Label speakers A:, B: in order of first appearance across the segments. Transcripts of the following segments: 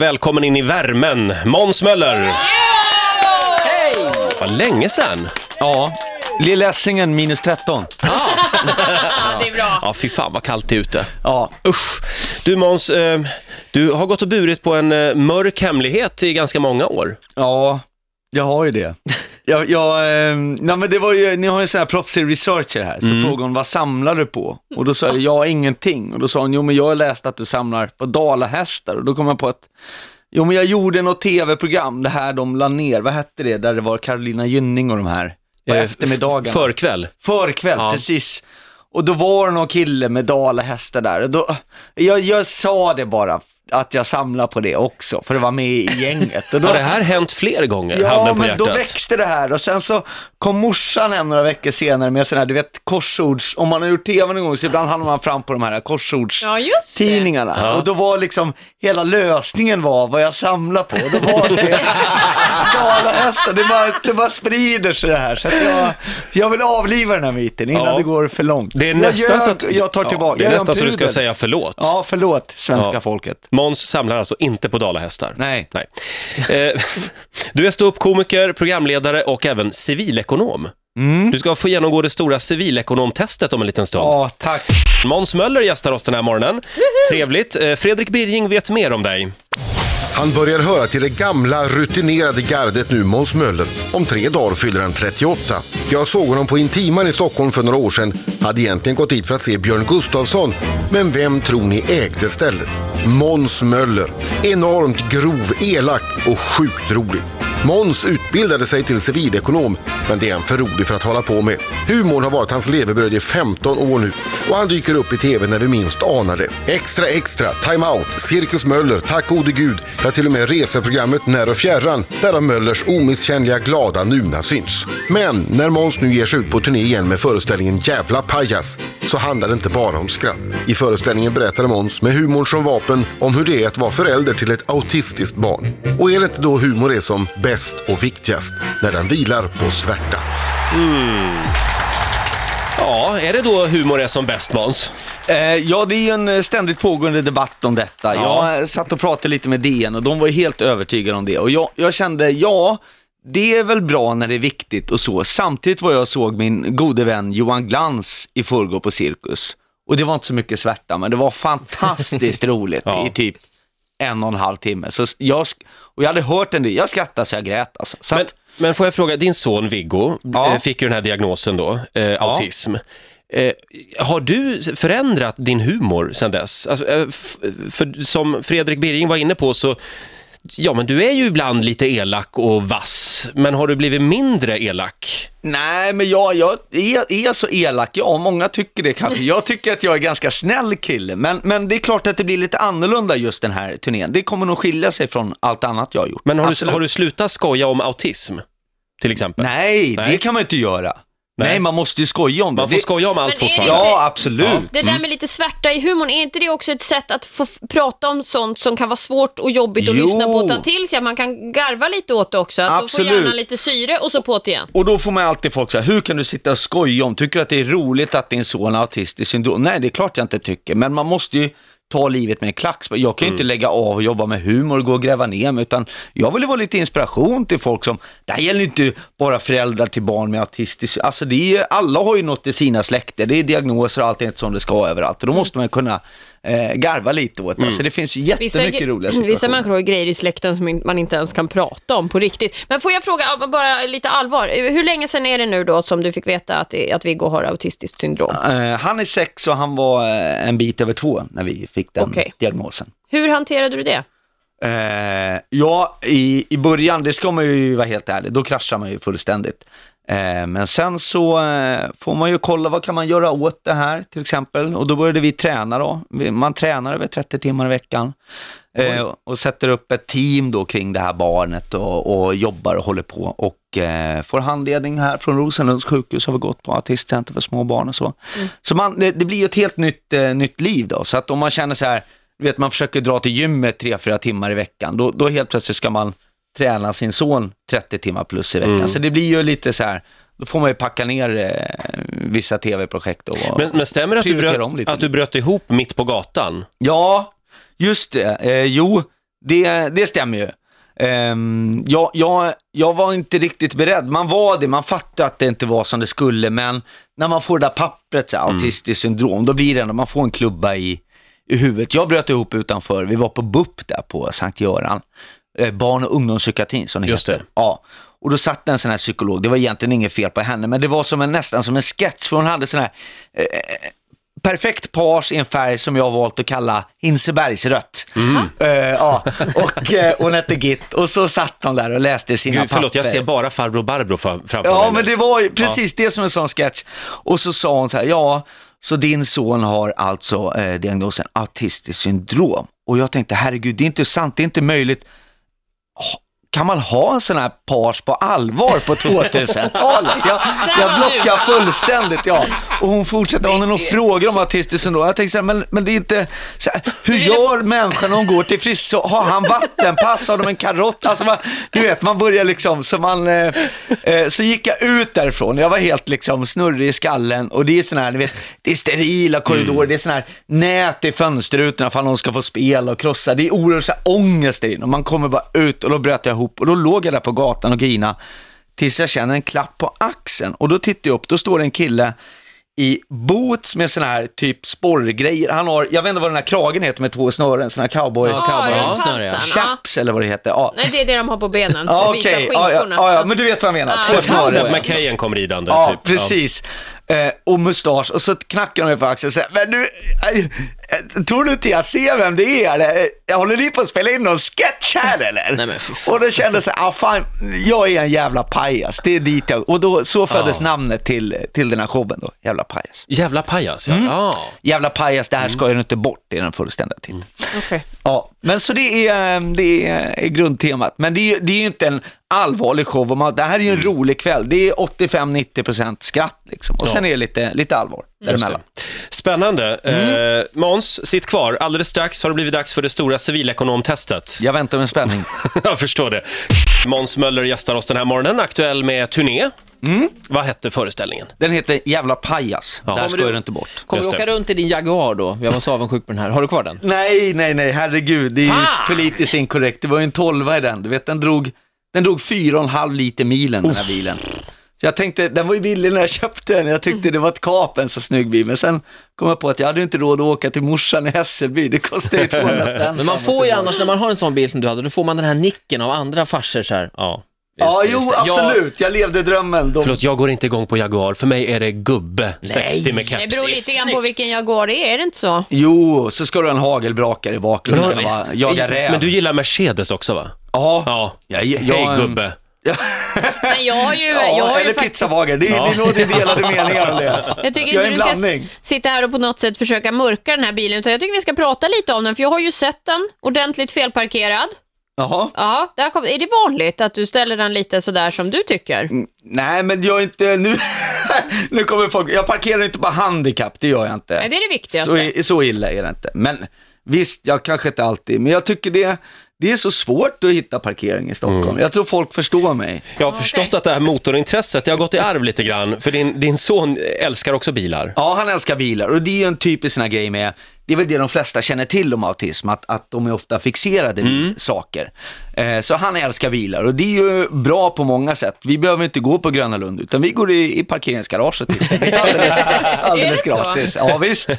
A: Välkommen in i värmen, Måns Möller! Vad länge sen!
B: Ja. Lilla Essingen minus 13.
C: det är bra.
A: Ja, fy fan vad kallt det är ute.
B: Ja.
A: Usch! Du Måns, eh, du har gått och burit på en eh, mörk hemlighet i ganska många år.
B: Ja, jag har ju det. Jag, jag, eh, nej men det var ju, ni har ju sån här proffsig researcher här, så frågade hon vad samlar du på? Och då sa jag, jag har ingenting. Och då sa hon, jo men jag har läst att du samlar på dalahästar. Och då kom jag på att, jo men jag gjorde något tv-program, det här de la ner, vad hette det, där det var Carolina Gynning och de här, på
A: Eh,
B: eftermiddagen.
A: Förkväll.
B: Förkväll,
A: Ja.
B: precis. Och då var det någon kille med dalahästar där. Och Då, jag, jag sa det bara, att jag samlar på det också, för det var med i gänget. Och då,
A: Har det här hänt fler gånger,
B: ja,
A: handen på
B: men
A: hjärtat?
B: då växte det här. Och sen så kom morsan hem några veckor senare med sådana här, du vet, korsords... Om man har gjort tv någon gång så ibland hamnar man fram på de här korsords
C: Ja, just det.
B: tidningarna.
A: Ja.
B: Och då var liksom, hela lösningen var vad jag samlar på. Och då var det dalahästar. Det bara, det bara sprider sig det här. Så att jag, jag vill avliva den här myten innan
A: Ja.
B: det går för långt.
A: Det är
B: Jag
A: nästan
B: gör-
A: så att...
B: Jag tar tillbaka.
A: Ja, det
B: jag
A: är
B: gör en
A: nästan så du ska
B: pudel.
A: säga förlåt.
B: Ja, förlåt svenska
A: Ja.
B: folket.
A: Måns samlar alltså inte på dalahästar.
B: Nej.
A: Nej. Eh, du är ståuppkomiker, programledare och även civilekonom. Du ska få genomgå det stora civilekonomtestet om en liten stund.
B: Ja, tack.
A: Måns Möller gästar oss den här morgonen. Trevligt. Eh, Fredrik Birging vet mer om dig.
D: Han börjar höra till det gamla rutinerade gardet nu, Måns Möller. Om tre dagar fyller han 38. Jag såg honom på Intiman i Stockholm för några år sedan. Hade egentligen gått dit för att se Björn Gustafsson. Men vem tror ni ägde stället? Måns Möller. Enormt grov, elak och sjukt rolig. Måns utbildade sig till civilekonom, men det är han för rolig för att hålla på med. Humorn har varit hans levebröd i 15 år nu och han dyker upp i TV när vi minst anar det. Extra Extra, Time Out, Cirkus Möller, Tack gode gud, ja till och med reseprogrammet När och fjärran, där har Möllers omisskännliga glada nuna syns. Men när Måns nu ger sig ut på turné igen med föreställningen Jävla pajas så handlar det inte bara om skratt. I föreställningen berättar Måns med humorn som vapen om hur det är att vara förälder till ett autistiskt barn. Och är det inte då humor är som bäst och viktigast? När den vilar på svärta.
A: Ja, är det då humor är som bäst, Måns?
B: Eh, ja, det är ju en eh, ständigt pågående debatt om detta.
A: Ja.
B: Jag eh, satt och pratade lite med DN och de var ju helt övertygade om det. Och jag, jag kände, ja, det är väl bra när det är viktigt och så. Samtidigt var jag och såg min gode vän Johan Glans i förrgår på Cirkus. Och det var inte så mycket svärta, men det var fantastiskt roligt
A: Ja.
B: i typ en och en halv timme. Så s- jag, sk- och jag hade hört en del, jag skrattade så jag grät alltså. Så
A: Men,
B: att,
A: men får jag fråga, din son Viggo
B: Ja.
A: eh, fick ju den här diagnosen då, eh, autism. Eh, har du förändrat din humor sedan dess? Alltså, eh, f- för som Fredrik Birging var inne på så, ja men du är ju ibland lite elak och vass, men har du blivit mindre elak?
B: Nej, men jag, jag är, är så elak. Ja, många tycker det kanske. Jag tycker att jag är ganska snäll kille. Men, men det är klart att det blir lite annorlunda just den här turnén. Det kommer nog skilja sig från allt annat jag har gjort.
A: Men har, du,
B: Absolut.
A: har du slutat skoja om autism, till exempel?
B: Nej,
A: Nej.
B: det kan man inte göra.
A: Nej.
B: Nej, man måste ju skoja om det.
A: Man får
B: det...
A: skoja om allt
C: Men är-
A: fortfarande.
B: Ja, absolut.
C: Det där med lite svärta i humorn, är inte det också ett sätt att få f- prata om sånt som kan vara svårt och jobbigt att
B: Jo.
C: lyssna på och ta till sig? Att Man kan garva lite åt det också. Att Absolut. Då får
B: Absolut.
C: hjärnan lite syre och så på det igen.
B: Och då får man alltid folk säga, hur kan du sitta och skoja om, tycker du att det är roligt att din son har autistiskt syndrom? Nej, det är klart jag inte tycker, men man måste ju ta livet med en klackspark. Jag kan ju inte lägga av och jobba med humor och gå och gräva ner mig, utan jag vill ju vara lite inspiration till folk som, det här gäller ju inte bara föräldrar till barn med autistiskt, alltså det är ju, alla har ju något i sina släkter, det är diagnoser och allt är inte som det ska överallt, och då måste man kunna eh, garva lite åt det. Alltså det finns jättemycket
C: ge-
B: roliga
C: vissa
B: situationer.
C: människor har ju grejer i släkten som in- man inte ens kan prata om på riktigt. Men får jag fråga, ja, bara lite allvar, eh, hur länge sedan är det nu då som du fick veta att, det- att Viggo har autistiskt syndrom?
B: Eh, han är sex och han var eh, en bit över två när vi fick den
C: Okej.
B: diagnosen.
C: Hur hanterade du det?
B: Eh, ja, i, i början, det ska man ju vara helt ärlig, då kraschar man ju fullständigt. Eh, men sen så eh, får man ju kolla, vad kan man göra åt det här till exempel? Och då började vi träna då. Vi- Man tränar över 30 timmar i veckan eh, och sätter upp ett team då kring det här barnet och, och jobbar och håller på. Och eh, får handledning här från Rosenlunds sjukhus, har vi gått på Autistcenter för små barn och så. Så man, det, det blir ju ett helt nytt, eh, nytt liv då. Så att om man känner så här, du vet man försöker dra till gymmet 3-4 timmar i veckan, då, då helt plötsligt ska man träna sin son 30 timmar plus i veckan. Så det blir ju lite så här, då får man ju packa ner eh, vissa tv-projekt. Och,
A: Men, men stämmer det att du,
B: Prioritera
A: bröt,
B: om lite.
A: att du bröt ihop mitt på gatan?
B: Ja, just det. Eh, jo, det, det stämmer ju. Ehm, jag, jag, jag var inte riktigt beredd. Man var det, man fattade att det inte var som det skulle, men när man får det där pappret, så här, autistiskt syndrom, då blir det ändå, man får en klubba i, i huvudet. Jag bröt ihop utanför, vi var på BUP där på Sankt Göran, eh, barn och ungdomspsykiatrin som det
A: Just
B: heter.
A: det.
B: Ja. Och då satt en sån här psykolog, det var egentligen inget fel på henne, men det var som en, nästan som en sketch, för hon hade sån här perfekt page i en färg som jag har valt att kalla Hinsebergsrött.
A: Mm.
B: Eh, ja, och eh, hon hette Git och så satt hon där och läste sina
A: Gud, förlåt,
B: papper.
A: jag ser bara farbror Barbro fa- framför
B: Ja,
A: mig.
B: men
A: nu.
B: det var ju precis det som en sån sketch. Och så sa hon så här, ja, så din son har alltså eh, diagnosen autistiskt syndrom. Och jag tänkte, herregud, det är inte sant, det är inte möjligt. Ha- Kan man ha en sån här pars på allvar på 2000-talet? Jag, jag
C: var du.
B: blockar fullständigt, ja. Och hon fortsätter, hon har nog frågor om autistiskt syndrom. Jag tänkte så här, men, men det är inte, så här, hur gör människan när hon går till frisör? Har han vattenpass? Har de en karott? Alltså man, du vet, man börjar liksom, så man, eh, eh, så gick jag ut därifrån. Jag var helt liksom snurrig i skallen och det är sån här, ni vet, det är sterila korridorer, det är sån här nät i fönsterrutorna för att någon ska få spela och krossa. Det är oerhört så här ångest där inne och man kommer bara ut och då bröt jag ihop och då låg jag där på gatan och grina tills jag känner en klapp på axeln. Och då tittar jag upp, då står det en kille i boots med sån här typ sporrgrejer. Han har, jag vet inte vad den här kragen heter med två snören, sån här cowboy...
E: Ja,
C: Ja,
E: cowboy.
C: runt
E: Ja, snarare.
C: halsen. Ja.
B: Chaps eller vad det heter. Ja,
C: Nej, det är det de har på benen.
B: ja
C: Visa
B: okej. Ja, ja,
C: skinkorna.
B: ja, ja, men du vet vad jag menar.
C: Ja.
B: Två snören.
A: Seth MacKayen kom ridande,
B: Ja,
A: typ.
B: precis. Eh, och mustasch. Och så knackar de mig på axeln och säger, men du, eh, tror du inte jag ser vem det är eller? Eh, Håller ni på att spela in någon sketch här eller?
E: Nej, men fy fan.
B: och då kände jag så här, ah, fan, jag är en jävla pajas. Det är dit jag, och då, så föddes
A: Ja.
B: namnet till, till den här showen då, jävla pajas.
A: Jävla pajas, ja.
B: Mm.
A: ja.
B: Jävla pajas, det här ska ju inte bort, det är den fullständiga titeln.
C: Okej.
B: Ja, men så det är, eh, det är grundtemat. Men det är, ju- det är ju inte en allvarlig show. och Man, det här är ju
E: Mm.
B: en rolig kväll. Det är 85-90% skratt liksom. Och sen är det lite, lite allvar däremellan. Mm.
A: Spännande. Eh, Måns, sitt kvar. Alldeles strax har det blivit dags för det stora civilekonomtestet.
B: Jag väntar med spänning.
A: Jag förstår det. Måns Möller gästar oss den här morgonen, aktuell med turné.
B: Mm.
A: Vad hette föreställningen?
B: Den heter Jävla pajas. Där
E: Kommer
B: ska
E: du-
B: den inte bort.
E: Kommer
A: Just
E: du
A: det.
E: åka runt i din Jaguar då? Jag var så avundsjuk på den här. Har du kvar den?
B: Nej, nej, nej, herregud. Det är ju
A: Fan!
B: politiskt inkorrekt. Det var ju en tolva i den. Du vet, den drog, den drog 4,5 liter milen, den här bilen. Så jag tänkte, den var ju billig när jag köpte den. Jag tyckte det var ett kap, en så snygg bil. Men sen kom jag på att jag hade ju inte råd att åka till morsan i Hässelby. Det kostade ju 200 spänn.
E: Men man får ju annars, när man har en sån bil som du hade, då får man den här nicken av andra farsor så här. Ja, just
B: Ja,
E: det,
B: jo,
E: just det. Ja,
B: absolut. Jag levde drömmen. De...
A: Förlåt, jag går inte igång på Jaguar. För mig är det gubbe, 60 med
C: Det
A: keps.
C: beror lite grann på vilken Jaguar det är, är det inte så?
B: Jo, så ska du ha en hagelbrakare i bakgrunden och bara jaga räv.
A: Men du gillar Mercedes också, va?
B: Ja.
A: Ja.
B: Jag- jag-
A: Hej, gubbe.
C: Men jag har ju,
B: Ja,
C: jag har
B: eller
C: ju faktiskt...
B: pizzabagare. Det är, det är nog det är delade meningar om det.
C: Jag tycker
B: jag är en
C: inte du ska
B: blandning.
C: s- sitta här och på något sätt försöka mörka den här bilen, utan jag tycker vi ska prata lite om den, för jag har ju sett den ordentligt felparkerad.
B: Jaha.
C: Ja, där kom, är det vanligt att du ställer den lite sådär som du tycker?
B: Mm. Nej, men jag är inte... Nu, nu kommer folk... Jag parkerar inte på handikapp, det gör jag inte.
C: Nej, det är det viktigaste.
B: Så, i- så illa är det inte. Men visst, jag kanske inte alltid... Men jag tycker det, det är så svårt att hitta parkering i Stockholm. Jag tror folk förstår mig.
A: Jag har förstått att det här motorintresset, det har gått i arv lite grann. För din, din son älskar också bilar.
B: Ja, han älskar bilar och det är ju en typisk sån här grej med, det är väl det de flesta känner till om autism, att, att de är ofta fixerade vid
C: Mm.
B: saker. Eh, så han älskar bilar och det är ju bra på många sätt. Vi behöver inte gå på Gröna Lund utan vi går i, i parkeringsgaraget. Det är alldeles, alldeles
C: Är det så?
B: gratis. Ja, visst.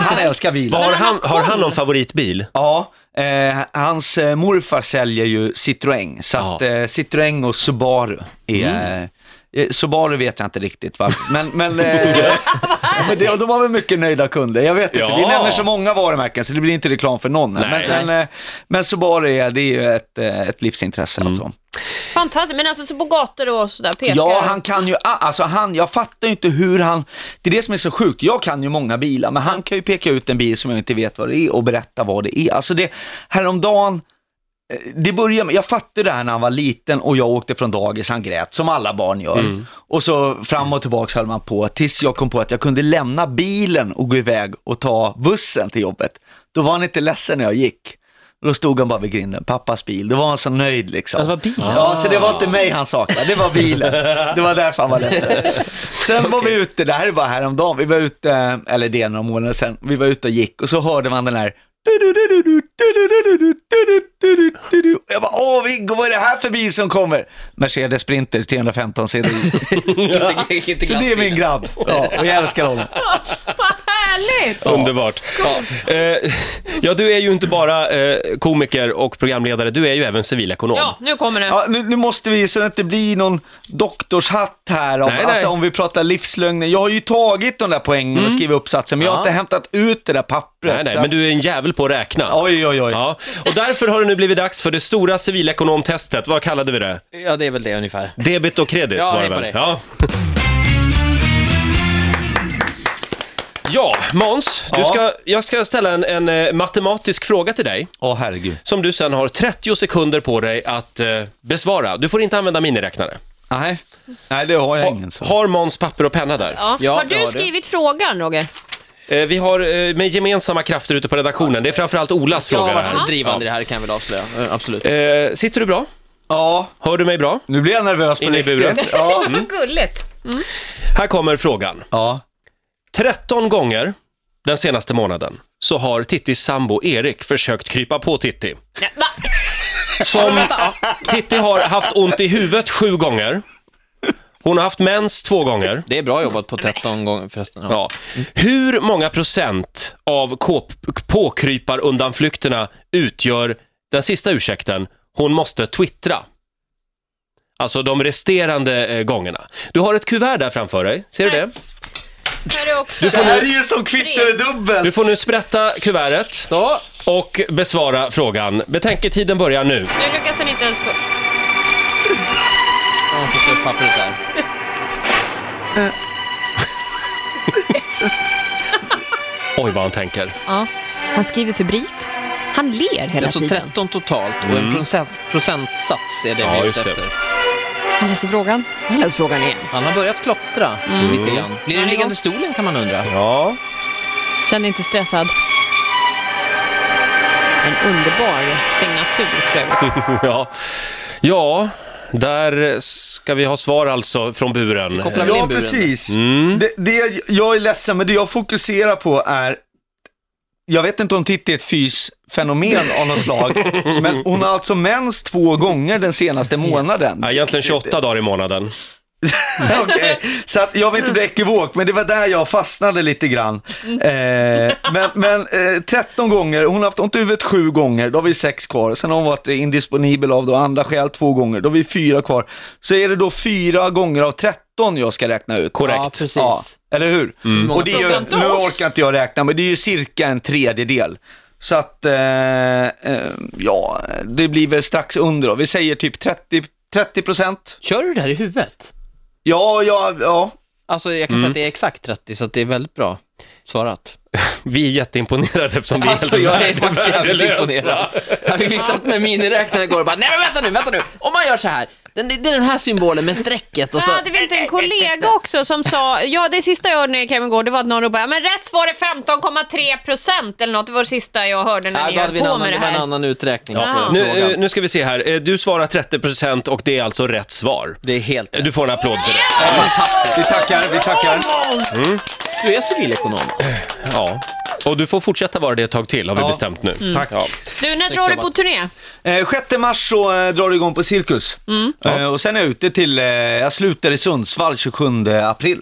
B: Han älskar bilar.
A: Vad Har han, har han någon favoritbil?
B: Ja, eh, hans eh, morfar säljer ju Citroën, så att
A: Ja. Mm.
B: eh, Citroën och Subaru är... eh, Subaru vet jag inte riktigt va, men, men, eh, men det, de har väl mycket nöjda kunder. Jag vet inte, vi
A: Ja.
B: nämner så många varumärken så det blir inte reklam för någon. här.
A: Nej.
B: Men, men, eh, men Subaru är, det är ju ett, eh, ett livsintresse.
A: Mm.
B: Alltså.
C: Fantastiskt, men alltså så på gator och sådär pekar
B: Ja, han kan ju, a- alltså han, jag fattar ju inte hur han, det är det som är så sjukt, jag kan ju många bilar, men han kan ju peka ut en bil som jag inte vet vad det är och berätta vad det är. Alltså det, häromdagen, eh, det börjar med, jag fattade det här när han var liten och jag åkte från dagis, han grät som alla barn gör. Och så fram och tillbaka höll man på tills jag kom på att jag kunde lämna bilen och gå iväg och ta bussen till jobbet. Då var han inte ledsen när jag gick. Då stod han bara vid grinden, pappas bil. Då var han så nöjd liksom.
E: Alltså, vad bilen?
B: Ja, så det var inte mig han saknade, det var bilen. Det var därför han var ledsen. Sen var vi ute, det här är bara häromdagen, vi var ute, eller det är några månader sedan, vi var ute och gick och så hörde man den här Jag bara, åh Viggo, vad är det här för bil som kommer? Mercedes Sprinter 315 CDI.
E: inte, inte
B: Så det är min grabb. Ja, och jag älskar honom.
C: Vad härligt!
A: Underbart. Ja. Eh, ja, du är ju inte bara eh, komiker och programledare, du är ju även civilekonom.
C: Ja, nu kommer det.
B: Ja, nu, nu måste vi, så att det inte blir någon doktorshatt här, om,
A: Nej, nej.
B: alltså, om vi pratar livslögner. Jag har ju tagit de där poängen och skrivit uppsatsen, men jag har inte hämtat ut det där pappret.
A: Mm. Nej, nej,
B: så-
A: men du är en jävel på att räkna.
B: Oj, oj, oj.
A: Ja. Och därför har det nu blivit dags för det stora civilekonomtestet. Vad kallade vi det?
E: Ja, det är väl det ungefär.
A: Debit och kredit
E: Ja,
A: var det
E: hej på
A: väl?
E: dig.
A: Ja. Ja, Måns, du
B: Ja.
A: ska, jag ska ställa en, en eh, matematisk fråga till dig
B: Åh, herregud.
A: som du sen har 30 sekunder på dig att eh, besvara. Du får inte använda miniräknare.
B: Nej. nej, det har jag ingen. Så.
A: Har Måns papper och penna där?
C: Ja.
E: Ja,
C: har
E: det
C: du
E: har du.
C: skrivit frågan, Roger?
A: Eh, Vi har eh, med gemensamma krafter ute på redaktionen. Det är framförallt Olas
E: Jag
A: fråga
E: har
A: det
E: varit
A: här.
E: drivande i det här kan jag väl avslöja. Eh, Absolut.
A: Eh, Sitter du bra?
B: Ja,
A: Hör du mig bra?
B: nu blir jag nervös på
A: In i buren.
B: riktigt. Ja.
C: Mm. Vad gulligt.
A: Här kommer frågan.
B: ja.
A: 13 gånger den senaste månaden så har Tittis sambo Erik försökt krypa på Titti.
C: Ja, va?
A: Som Titti har haft ont i huvudet sju gånger. Hon har haft mens två gånger.
E: Det är bra jobbat på 13 gånger förresten. Ja.
A: Ja. Hur många procent av kåp- påkryparundanflykterna utgör den sista ursäkten, hon måste twittra? Alltså de resterande eh, gångerna. Du har ett kuvert där framför dig, ser du det?
C: Här är också...
B: Det här är ju som kvitter
A: Du
B: dubbelt.
A: får nu sprätta kuvertet
E: Så,
A: och besvara frågan. Betänketiden börjar nu.
C: Nu lyckas han inte ens få...
E: han får ta upp pappret där.
A: Oj, vad han tänker.
C: Ja. Han skriver febrilt. Han ler hela
E: Alltså
C: tiden.
E: 13 totalt och en procent, procentsats är Mm. det
A: Ja,
E: vi är
A: just
E: ute
A: det.
E: efter.
C: Han läser frågan. Han läser frågan igen.
E: Han har börjat klottra lite grann. Blir det den liggande stolen kan man undra.
A: Ja.
C: Känner inte stressad. En underbar signatur för övrigt.
A: ja. Ja, där ska vi ha svar alltså från buren.
E: Koppla väl
B: Ja,
E: in buren.
B: precis. Det, det jag är ledsen, men det jag fokuserar på är jag vet inte om Titti är ett fysfenomen av något slag, men hon har alltså mens två gånger den senaste månaden.
A: Ja, egentligen 28 dagar i månaden.
B: Okej, Så att jag vill inte bli ekivok, men det var där jag fastnade lite grann. Eh, men men eh, 13 gånger, hon har haft ont i huvudet sju gånger, då har vi sex kvar. Sen har hon varit indisponibel av då andra skäl två gånger, då har vi fyra kvar. Så är det då fyra gånger av 13 jag ska räkna ut.
A: Korrekt.
E: Ja, precis.
B: Ja, eller hur? Och det är ju,
C: procent
B: nu
C: av oss?
B: orkar inte jag räkna, men det är ju cirka en tredjedel. Så att, eh, eh, ja, det blir väl strax under då. Vi säger typ 30, 30 procent.
E: Kör du det här i huvudet?
B: Ja, ja, ja.
E: Alltså jag kan säga att det är exakt 30, så att det är väldigt bra svarat.
A: Vi är jätteimponerade eftersom vi är
E: Alltså
A: helt
E: jag är faktiskt jävligt
A: värdelösa.
E: imponerad. Jag fick satt med miniräknare igår och bara, nej men vänta nu, vänta nu. Om man gör så här, den, det är den här symbolen med strecket och så...
C: Jag hade väl inte en kollega också som sa, ja det sista jag hörde när jag gick hem igår det var att någon ropade, "Ja, men rätt svar är 15,3 procent eller något. Det var det sista jag hörde när
E: Ja,
C: ni
E: då hade vi en
C: höll på med
E: annan, det
C: det
E: var en
C: här.
E: annan uträkning
C: Ja.
E: på
A: Nu,
E: frågan.
A: eh, nu ska vi se här. Eh, Du svarar 30% och det är alltså rätt svar.
E: Det är helt
A: Du
E: rätt.
A: får en applåd för det.
E: Fantastiskt.
B: Vi tackar, vi tackar.
E: Du är civilekonom.
A: Ja. Och du får fortsätta vara det ett tag till har vi
B: Ja.
A: bestämt nu.
B: Tack.
C: Du, när drar du på turné?
B: Eh, 6 mars så eh, drar det igång på Cirkus. Eh, och sen är jag ute till, eh, jag slutar i Sundsvall 27 april.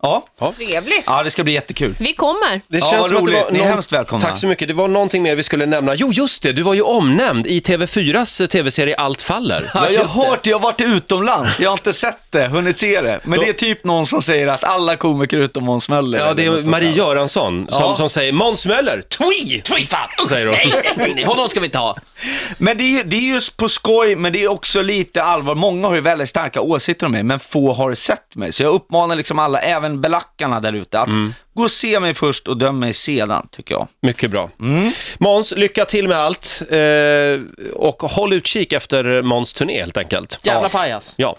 C: Ja,
B: Ja,
C: trevligt.
B: ja det ska bli jättekul.
C: Vi kommer.
A: Det
B: Ja, vad roligt. Ni är hemskt välkomna.
A: Tack så mycket. Det var någonting mer vi skulle nämna. Jo, just det. Du var ju omnämnd i TV4s tv-serie eh, Allt faller.
B: Ja, jag
E: just
B: har hört det, jag har varit utomlands, jag har inte sett det, hunnit se det. Men det är typ någon som säger att alla komiker utom Måns Möller.
A: Ja, det
B: eller
A: är
B: något sånt
A: Marie
B: där.
A: Göransson som,
B: Ja.
A: som säger Måns Möller, twi!
E: Fy fan!
A: Säger hon. Mm.
E: Nej, nej, nej, nej, honom ska vi inte ha.
B: Men det är, ju, det är ju på skoj, men det är också lite allvar. Många har ju väldigt starka åsikter om mig, men få har sett mig. Så jag uppmanar liksom alla, även belackarna där ute, att gå och se mig först och döm mig sedan, tycker jag.
A: Mycket bra.
B: Mm.
A: Måns, lycka till med allt eh, och håll utkik efter Måns turné helt enkelt.
E: Jävla pajas.
A: Ja.